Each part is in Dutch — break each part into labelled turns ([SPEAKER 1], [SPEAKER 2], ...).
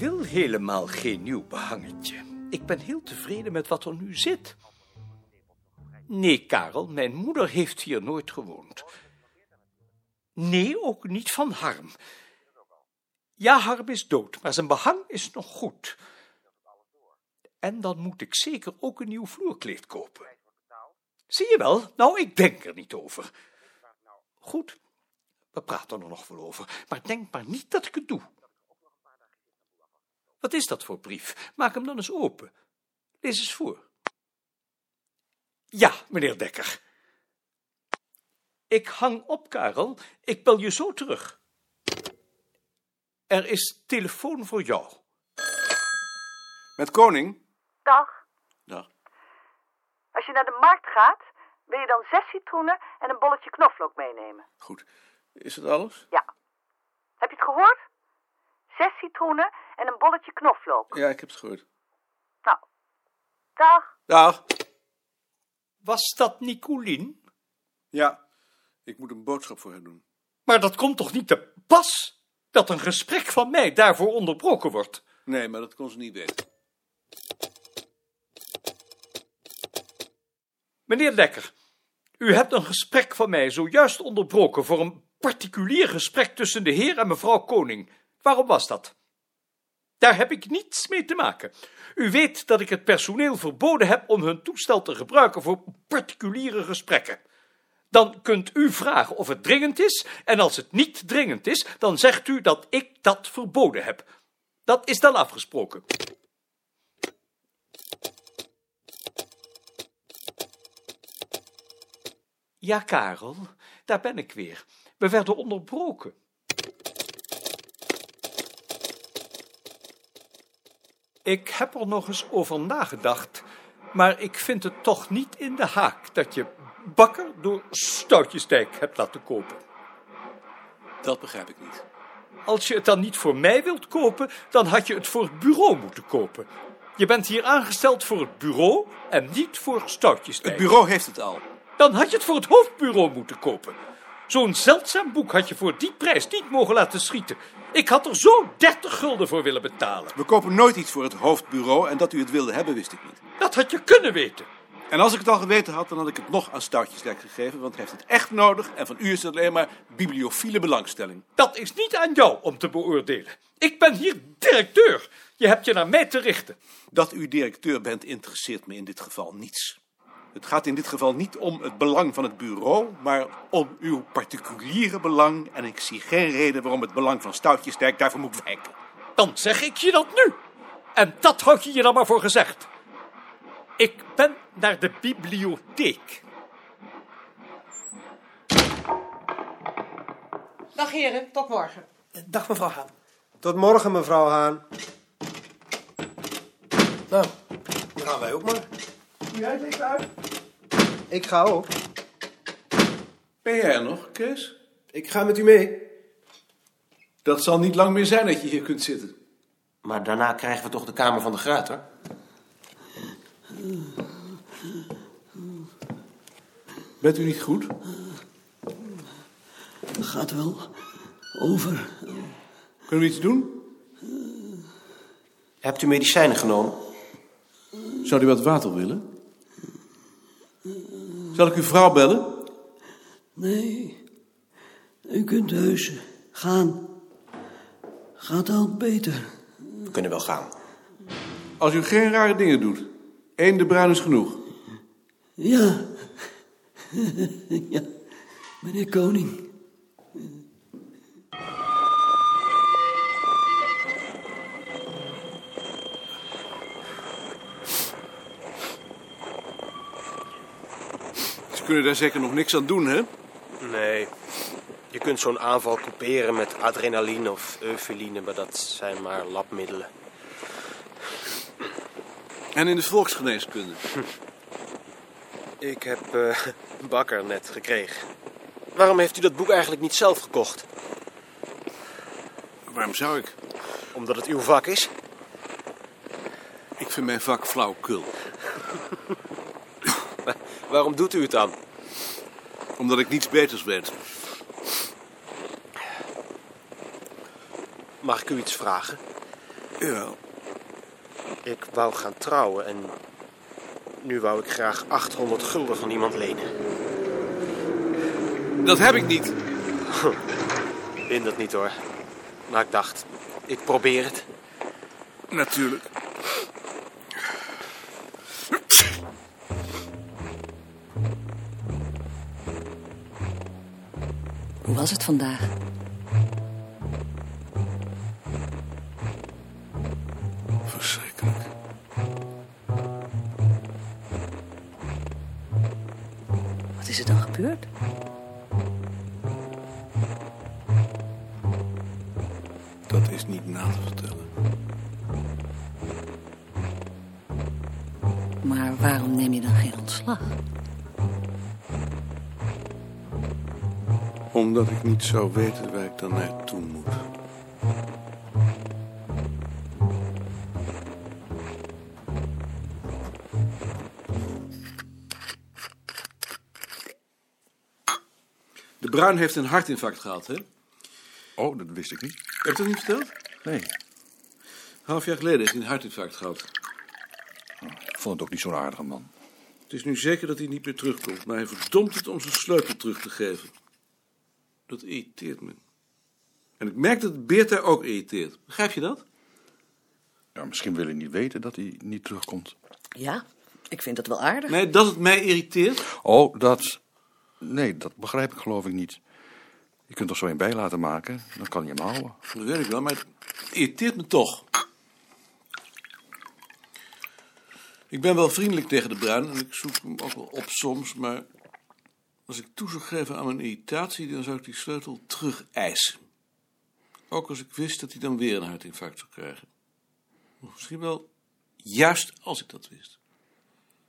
[SPEAKER 1] helemaal geen nieuw behangetje. Ik ben heel tevreden met wat er nu zit. Nee, Karel, mijn moeder heeft hier nooit gewoond. Nee, ook niet van Harm. Ja, Harm is dood, maar zijn behang is nog goed. En dan moet ik zeker ook een nieuw vloerkleed kopen. Zie je wel? Nou, ik denk er niet over. Goed, we praten er nog wel over, maar denk maar niet dat ik het doe. Wat is dat voor brief? Maak hem dan eens open. Lees eens voor. Ja, meneer Dekker. Ik hang op, Karel. Ik bel je zo terug. Er is telefoon voor jou.
[SPEAKER 2] Met koning?
[SPEAKER 3] Dag.
[SPEAKER 2] Ja.
[SPEAKER 3] Als je naar de markt gaat, wil je dan zes citroenen en een bolletje knoflook meenemen?
[SPEAKER 2] Goed. Is dat alles?
[SPEAKER 3] Ja. Heb je het gehoord? Zes citroenen en een bolletje knoflook.
[SPEAKER 2] Ja, ik heb het gehoord.
[SPEAKER 3] Nou, dag.
[SPEAKER 2] Dag.
[SPEAKER 1] Was dat Nicolien?
[SPEAKER 2] Ja, ik moet een boodschap voor haar doen.
[SPEAKER 1] Maar dat komt toch niet te pas dat een gesprek van mij daarvoor onderbroken wordt?
[SPEAKER 2] Nee, maar dat kon ze niet weten.
[SPEAKER 1] Meneer Dekker, u hebt een gesprek van mij zojuist onderbroken voor een particulier gesprek tussen de heer en mevrouw Koning. Waarom was dat? Daar heb ik niets mee te maken. U weet dat ik het personeel verboden heb om hun toestel te gebruiken voor particuliere gesprekken. Dan kunt u vragen of het dringend is, en als het niet dringend is, dan zegt u dat ik dat verboden heb. Dat is dan afgesproken. Ja, Karel, daar ben ik weer. We werden onderbroken. Ik heb er nog eens over nagedacht, maar ik vind het toch niet in de haak dat je bakker door Stoutjesdijk hebt laten kopen.
[SPEAKER 2] Dat begrijp ik niet.
[SPEAKER 1] Als je het dan niet voor mij wilt kopen, dan had je het voor het bureau moeten kopen. Je bent hier aangesteld voor het bureau en niet voor Stoutjesdijk.
[SPEAKER 2] Het bureau heeft het al.
[SPEAKER 1] Dan had je het voor het hoofdbureau moeten kopen. Zo'n zeldzaam boek had je voor die prijs niet mogen laten schieten. Ik had er zo 30 gulden voor willen betalen.
[SPEAKER 2] We kopen nooit iets voor het hoofdbureau en dat u het wilde hebben wist ik niet.
[SPEAKER 1] Dat had je kunnen weten.
[SPEAKER 2] En als ik het al geweten had, dan had ik het nog aan Stoutjesdijk gegeven, want hij heeft het echt nodig en van u is het alleen maar bibliophile belangstelling.
[SPEAKER 1] Dat is niet aan jou om te beoordelen. Ik ben hier directeur. Je hebt je naar mij te richten.
[SPEAKER 2] Dat u directeur bent interesseert me in dit geval niets. Het gaat in dit geval niet om het belang van het bureau, maar om uw particuliere belang. En ik zie geen reden waarom het belang van Stoutjesdijk daarvoor moet wijken.
[SPEAKER 1] Dan zeg ik je dat nu. En dat houd je je dan maar voor gezegd. Ik ben naar de bibliotheek.
[SPEAKER 4] Dag heren, tot morgen.
[SPEAKER 5] Dag mevrouw Haan.
[SPEAKER 6] Tot morgen, mevrouw Haan.
[SPEAKER 5] Nou, dan gaan wij ook maar.
[SPEAKER 2] Jij denkt uit.
[SPEAKER 6] Ik ga ook.
[SPEAKER 2] Ben jij er nog, Kees?
[SPEAKER 5] Ik ga met u mee.
[SPEAKER 2] Dat zal niet lang meer zijn dat je hier kunt zitten.
[SPEAKER 7] Maar daarna krijgen we toch de Kamer van de Graad, hoor.
[SPEAKER 2] Bent u niet goed?
[SPEAKER 8] Het gaat wel over.
[SPEAKER 2] Kunnen we iets doen?
[SPEAKER 7] Hebt u medicijnen genomen?
[SPEAKER 2] Zou u wat water willen? Zal ik uw vrouw bellen?
[SPEAKER 8] Nee, u kunt heus gaan. Gaat al beter.
[SPEAKER 7] We kunnen wel gaan.
[SPEAKER 2] Als u geen rare dingen doet. Eén de bruin is genoeg.
[SPEAKER 8] Ja. ja, meneer Koning.
[SPEAKER 2] Ze kunnen daar zeker nog niks aan doen, hè?
[SPEAKER 7] Nee. Je kunt zo'n aanval couperen met adrenaline of eufeline, maar dat zijn maar labmiddelen.
[SPEAKER 2] En in de volksgeneeskunde.
[SPEAKER 7] Ik heb eh, Bakker net gekregen. Waarom heeft u dat boek eigenlijk niet zelf gekocht?
[SPEAKER 2] Waarom zou ik?
[SPEAKER 7] Omdat het uw vak is?
[SPEAKER 2] Ik vind mijn vak flauwkul.
[SPEAKER 7] Waarom doet u het dan?
[SPEAKER 2] Omdat ik niets beters weet.
[SPEAKER 7] Mag ik u iets vragen?
[SPEAKER 2] Ja.
[SPEAKER 7] Ik wou gaan trouwen en nu wou ik graag 800 gulden van iemand lenen.
[SPEAKER 9] Dat heb ik niet.
[SPEAKER 7] Win dat niet hoor. Maar ik dacht, ik probeer het.
[SPEAKER 9] Natuurlijk.
[SPEAKER 8] Hoe was het vandaag?
[SPEAKER 9] Verschrikkelijk.
[SPEAKER 8] Wat is er dan gebeurd?
[SPEAKER 9] Dat is niet na te vertellen.
[SPEAKER 8] Maar waarom neem je dan geen ontslag?
[SPEAKER 9] Omdat ik niet zou weten waar ik dan naartoe moet.
[SPEAKER 2] De Bruin heeft een hartinfarct gehad, hè? Heb
[SPEAKER 9] Oh, dat wist ik niet.
[SPEAKER 2] je dat niet verteld?
[SPEAKER 9] Nee,
[SPEAKER 2] Een half jaar geleden heeft hij een hartinfarct gehad.
[SPEAKER 9] Oh, ik vond het ook niet zo'n aardige man.
[SPEAKER 2] Het is nu zeker dat hij niet meer terugkomt, maar hij verdomt het om zijn sleutel terug te geven. Dat irriteert me. En ik merk dat het Beerta ook irriteert. Begrijp je dat?
[SPEAKER 9] Ja, misschien wil hij niet weten dat hij niet terugkomt.
[SPEAKER 8] Ja, ik vind dat wel aardig.
[SPEAKER 2] Nee, dat het mij irriteert.
[SPEAKER 9] Oh, dat... Nee, dat begrijp ik geloof ik niet. Je kunt er zo een bij laten maken, dan kan je hem houden.
[SPEAKER 2] Dat weet ik wel, maar het irriteert me toch. Ik ben wel vriendelijk tegen de Bruin en ik zoek hem ook wel op soms, maar als ik toe zou geven aan mijn irritatie, dan zou ik die sleutel terug eisen. Ook als ik wist dat hij dan weer een hartinfarct zou krijgen. Of misschien wel juist als ik dat wist.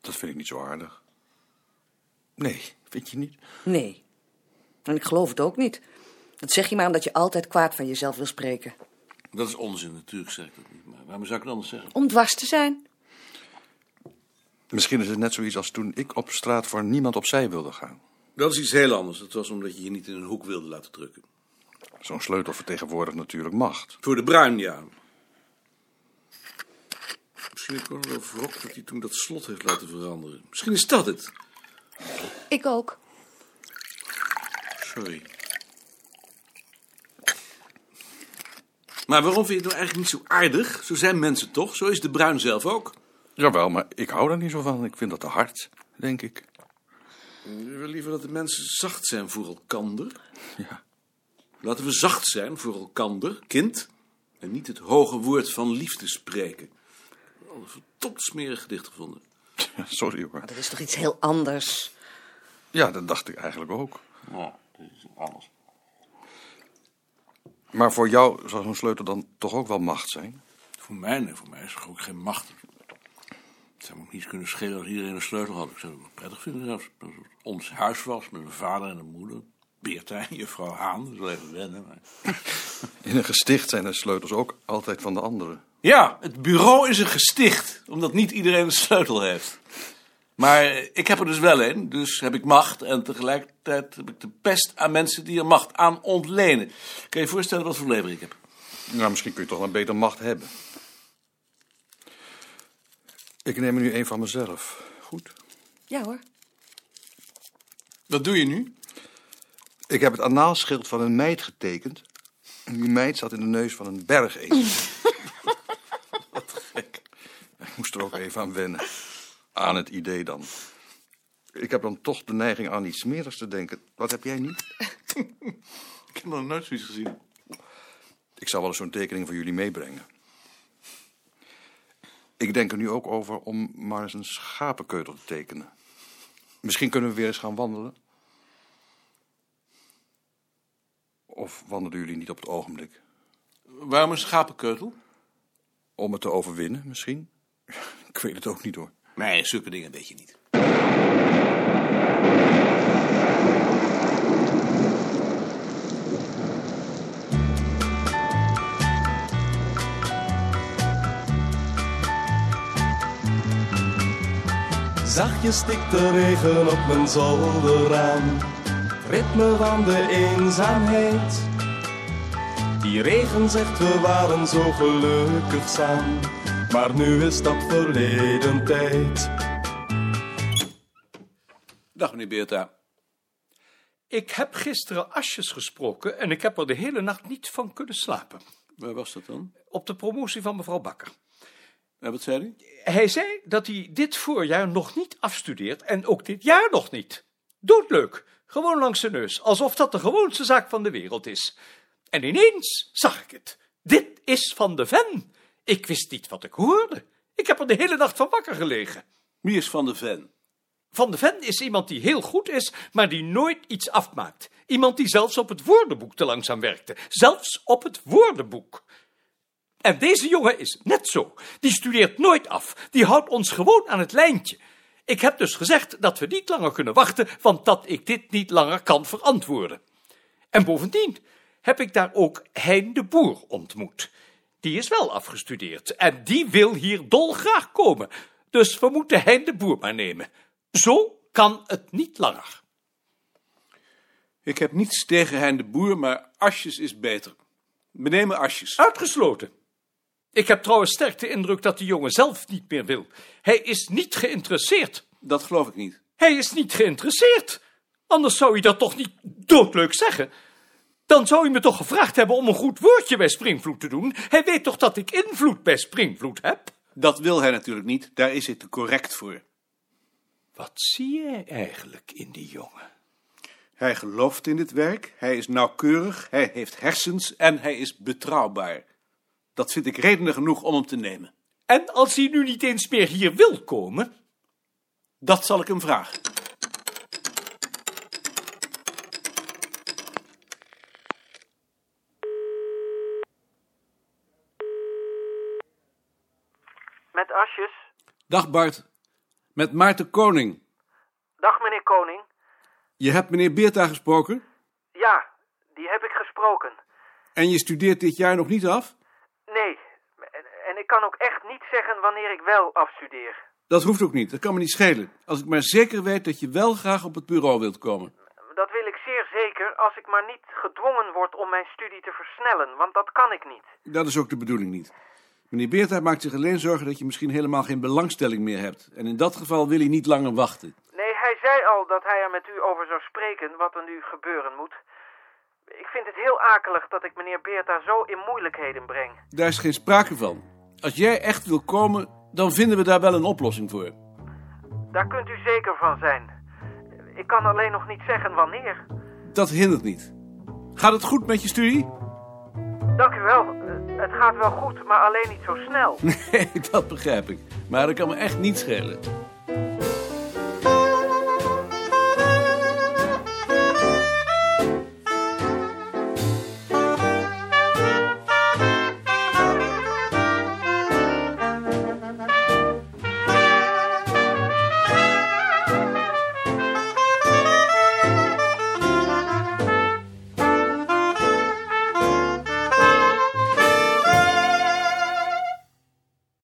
[SPEAKER 9] Dat vind ik niet zo aardig. Nee, vind je niet?
[SPEAKER 8] Nee. En ik geloof het ook niet. Dat zeg je maar omdat je altijd kwaad van jezelf wil spreken.
[SPEAKER 2] Dat is onzin, natuurlijk zeg ik dat niet, maar waarom zou ik het anders zeggen?
[SPEAKER 8] Om dwars te zijn.
[SPEAKER 9] Misschien is het net zoiets als toen ik op straat voor niemand opzij wilde gaan.
[SPEAKER 2] Dat is iets heel anders. Dat was omdat je je niet in een hoek wilde laten drukken.
[SPEAKER 9] Zo'n sleutel vertegenwoordigt natuurlijk macht.
[SPEAKER 2] Voor de Bruin, ja. Misschien heb ik ook nog wel wrok dat hij toen dat slot heeft laten veranderen. Misschien is dat het.
[SPEAKER 8] Ik ook.
[SPEAKER 2] Sorry. Maar waarom vind je het nou eigenlijk niet zo aardig? Zo zijn mensen toch? Zo is de Bruin zelf ook.
[SPEAKER 9] Jawel, maar ik hou daar niet zo van. Ik vind dat te hard, denk ik.
[SPEAKER 2] Je wil liever dat de mensen zacht zijn voor elkander.
[SPEAKER 9] Ja.
[SPEAKER 2] Laten we zacht zijn voor elkander, kind. En niet het hoge woord van liefde spreken. Al een verdomd smerig gedicht gevonden.
[SPEAKER 9] Sorry hoor.
[SPEAKER 8] Dat is toch iets heel anders?
[SPEAKER 9] Ja, dat dacht ik eigenlijk ook.
[SPEAKER 2] Ja, dat is alles.
[SPEAKER 9] Maar voor jou zou zo'n sleutel dan toch ook wel macht zijn?
[SPEAKER 2] Voor mij, nee, voor mij is het ook geen macht. Het zou me ook niet kunnen schelen als iedereen een sleutel had. Ik zou het wel prettig vinden zelfs. Als het ons huis was, met mijn vader en mijn moeder. Beerta en juffrouw Haan, dat is wel even wennen. Maar...
[SPEAKER 9] In een gesticht zijn de sleutels ook altijd van de anderen.
[SPEAKER 2] Ja, het bureau is een gesticht, omdat niet iedereen een sleutel heeft. Maar eh, ik heb er dus wel een, dus heb ik macht. En tegelijkertijd heb ik de pest aan mensen die er macht aan ontlenen. Kan je je voorstellen wat voor lever ik heb?
[SPEAKER 9] Nou, misschien kun je toch een beter macht hebben. Ik neem er nu een van mezelf. Goed.
[SPEAKER 8] Ja hoor.
[SPEAKER 2] Wat doe je nu?
[SPEAKER 9] Ik heb het anaalschild van een meid getekend. En die meid zat in de neus van een bergezel. Wat gek. Ik moest er ook even aan wennen. Aan het idee dan. Ik heb dan toch de neiging aan iets smerigs te denken. Wat heb jij niet?
[SPEAKER 2] Ik heb nog nooit zoiets gezien.
[SPEAKER 9] Ik zal wel eens zo'n tekening voor jullie meebrengen. Ik denk er nu ook over om maar eens een schapenkeutel te tekenen. Misschien kunnen we weer eens gaan wandelen. Of wandelen jullie niet op het ogenblik?
[SPEAKER 2] Waarom een schapenkeutel?
[SPEAKER 9] Om het te overwinnen, misschien? Ik weet het ook niet hoor.
[SPEAKER 2] Nee, zulke dingen weet je niet.
[SPEAKER 10] Zachtjes stikt de regen op mijn zolderraam. Het Ritme van de eenzaamheid. Die regen zegt we waren zo gelukkig samen. Maar nu is dat verleden tijd.
[SPEAKER 2] Dag, meneer Beerta.
[SPEAKER 1] Ik heb gisteren Asjes gesproken en ik heb er de hele nacht niet van kunnen slapen.
[SPEAKER 2] Waar was dat dan?
[SPEAKER 1] Op de promotie van mevrouw Bakker.
[SPEAKER 2] En wat zei hij?
[SPEAKER 1] Hij zei dat hij dit voorjaar nog niet afstudeert en ook dit jaar nog niet. Doodleuk, gewoon langs zijn neus, alsof dat de gewoonste zaak van de wereld is. En ineens zag ik het. Dit is van de Ven. Ik wist niet wat ik hoorde. Ik heb er de hele nacht van wakker gelegen.
[SPEAKER 2] Wie is Van de Ven?
[SPEAKER 1] Van de Ven is iemand die heel goed is, maar die nooit iets afmaakt. Iemand die zelfs op het woordenboek te langzaam werkte. Zelfs op het woordenboek. En deze jongen is net zo. Die studeert nooit af. Die houdt ons gewoon aan het lijntje. Ik heb dus gezegd dat we niet langer kunnen wachten, want dat ik dit niet langer kan verantwoorden. En bovendien heb ik daar ook Hein de Boer ontmoet. Die is wel afgestudeerd en die wil hier dolgraag komen. Dus we moeten Hein de Boer maar nemen. Zo kan het niet langer.
[SPEAKER 2] Ik heb niets tegen Hein de Boer, maar Asjes is beter. We nemen Asjes.
[SPEAKER 1] Uitgesloten. Ik heb trouwens sterk de indruk dat de jongen zelf niet meer wil. Hij is niet geïnteresseerd.
[SPEAKER 2] Dat geloof ik niet.
[SPEAKER 1] Hij is niet geïnteresseerd. Anders zou hij dat toch niet doodleuk zeggen. Dan zou hij me toch gevraagd hebben om een goed woordje bij Springvloed te doen. Hij weet toch dat ik invloed bij Springvloed heb?
[SPEAKER 2] Dat wil hij natuurlijk niet. Daar is hij te correct voor.
[SPEAKER 1] Wat zie jij eigenlijk in die jongen?
[SPEAKER 2] Hij gelooft in dit werk, hij is nauwkeurig, hij heeft hersens en hij is betrouwbaar. Dat vind ik redenen genoeg om hem te nemen.
[SPEAKER 1] En als hij nu niet eens meer hier wil komen?
[SPEAKER 2] Dat zal ik hem vragen.
[SPEAKER 3] Met Asjes.
[SPEAKER 2] Dag Bart, met Maarten Koning.
[SPEAKER 3] Dag meneer Koning.
[SPEAKER 2] Je hebt meneer Beerta gesproken
[SPEAKER 3] Ja, die heb ik gesproken.
[SPEAKER 2] en je studeert dit jaar nog niet af?
[SPEAKER 3] Nee, en, en ik kan ook echt niet zeggen wanneer ik wel afstudeer.
[SPEAKER 2] Dat hoeft ook niet, dat kan me niet schelen. Als ik maar zeker weet dat je wel graag op het bureau wilt komen.
[SPEAKER 3] Dat wil ik zeer zeker als ik maar niet gedwongen word om mijn studie te versnellen, want dat kan ik niet.
[SPEAKER 2] Dat is ook de bedoeling niet. Meneer Beerta maakt zich alleen zorgen dat je misschien helemaal geen belangstelling meer hebt. En in dat geval wil hij niet langer wachten.
[SPEAKER 3] Nee, hij zei al dat hij er met u over zou spreken wat er nu gebeuren moet. Ik vind het heel akelig dat ik meneer Beerta zo in moeilijkheden breng.
[SPEAKER 2] Daar is geen sprake van. Als jij echt wil komen, dan vinden we daar wel een oplossing voor.
[SPEAKER 3] Daar kunt u zeker van zijn. Ik kan alleen nog niet zeggen wanneer.
[SPEAKER 2] Dat hindert niet. Gaat het goed met je studie?
[SPEAKER 3] Dank u wel. Eh, Het gaat wel goed, maar alleen niet zo snel.
[SPEAKER 2] Nee, dat begrijp ik. Maar dat kan me echt niet schelen.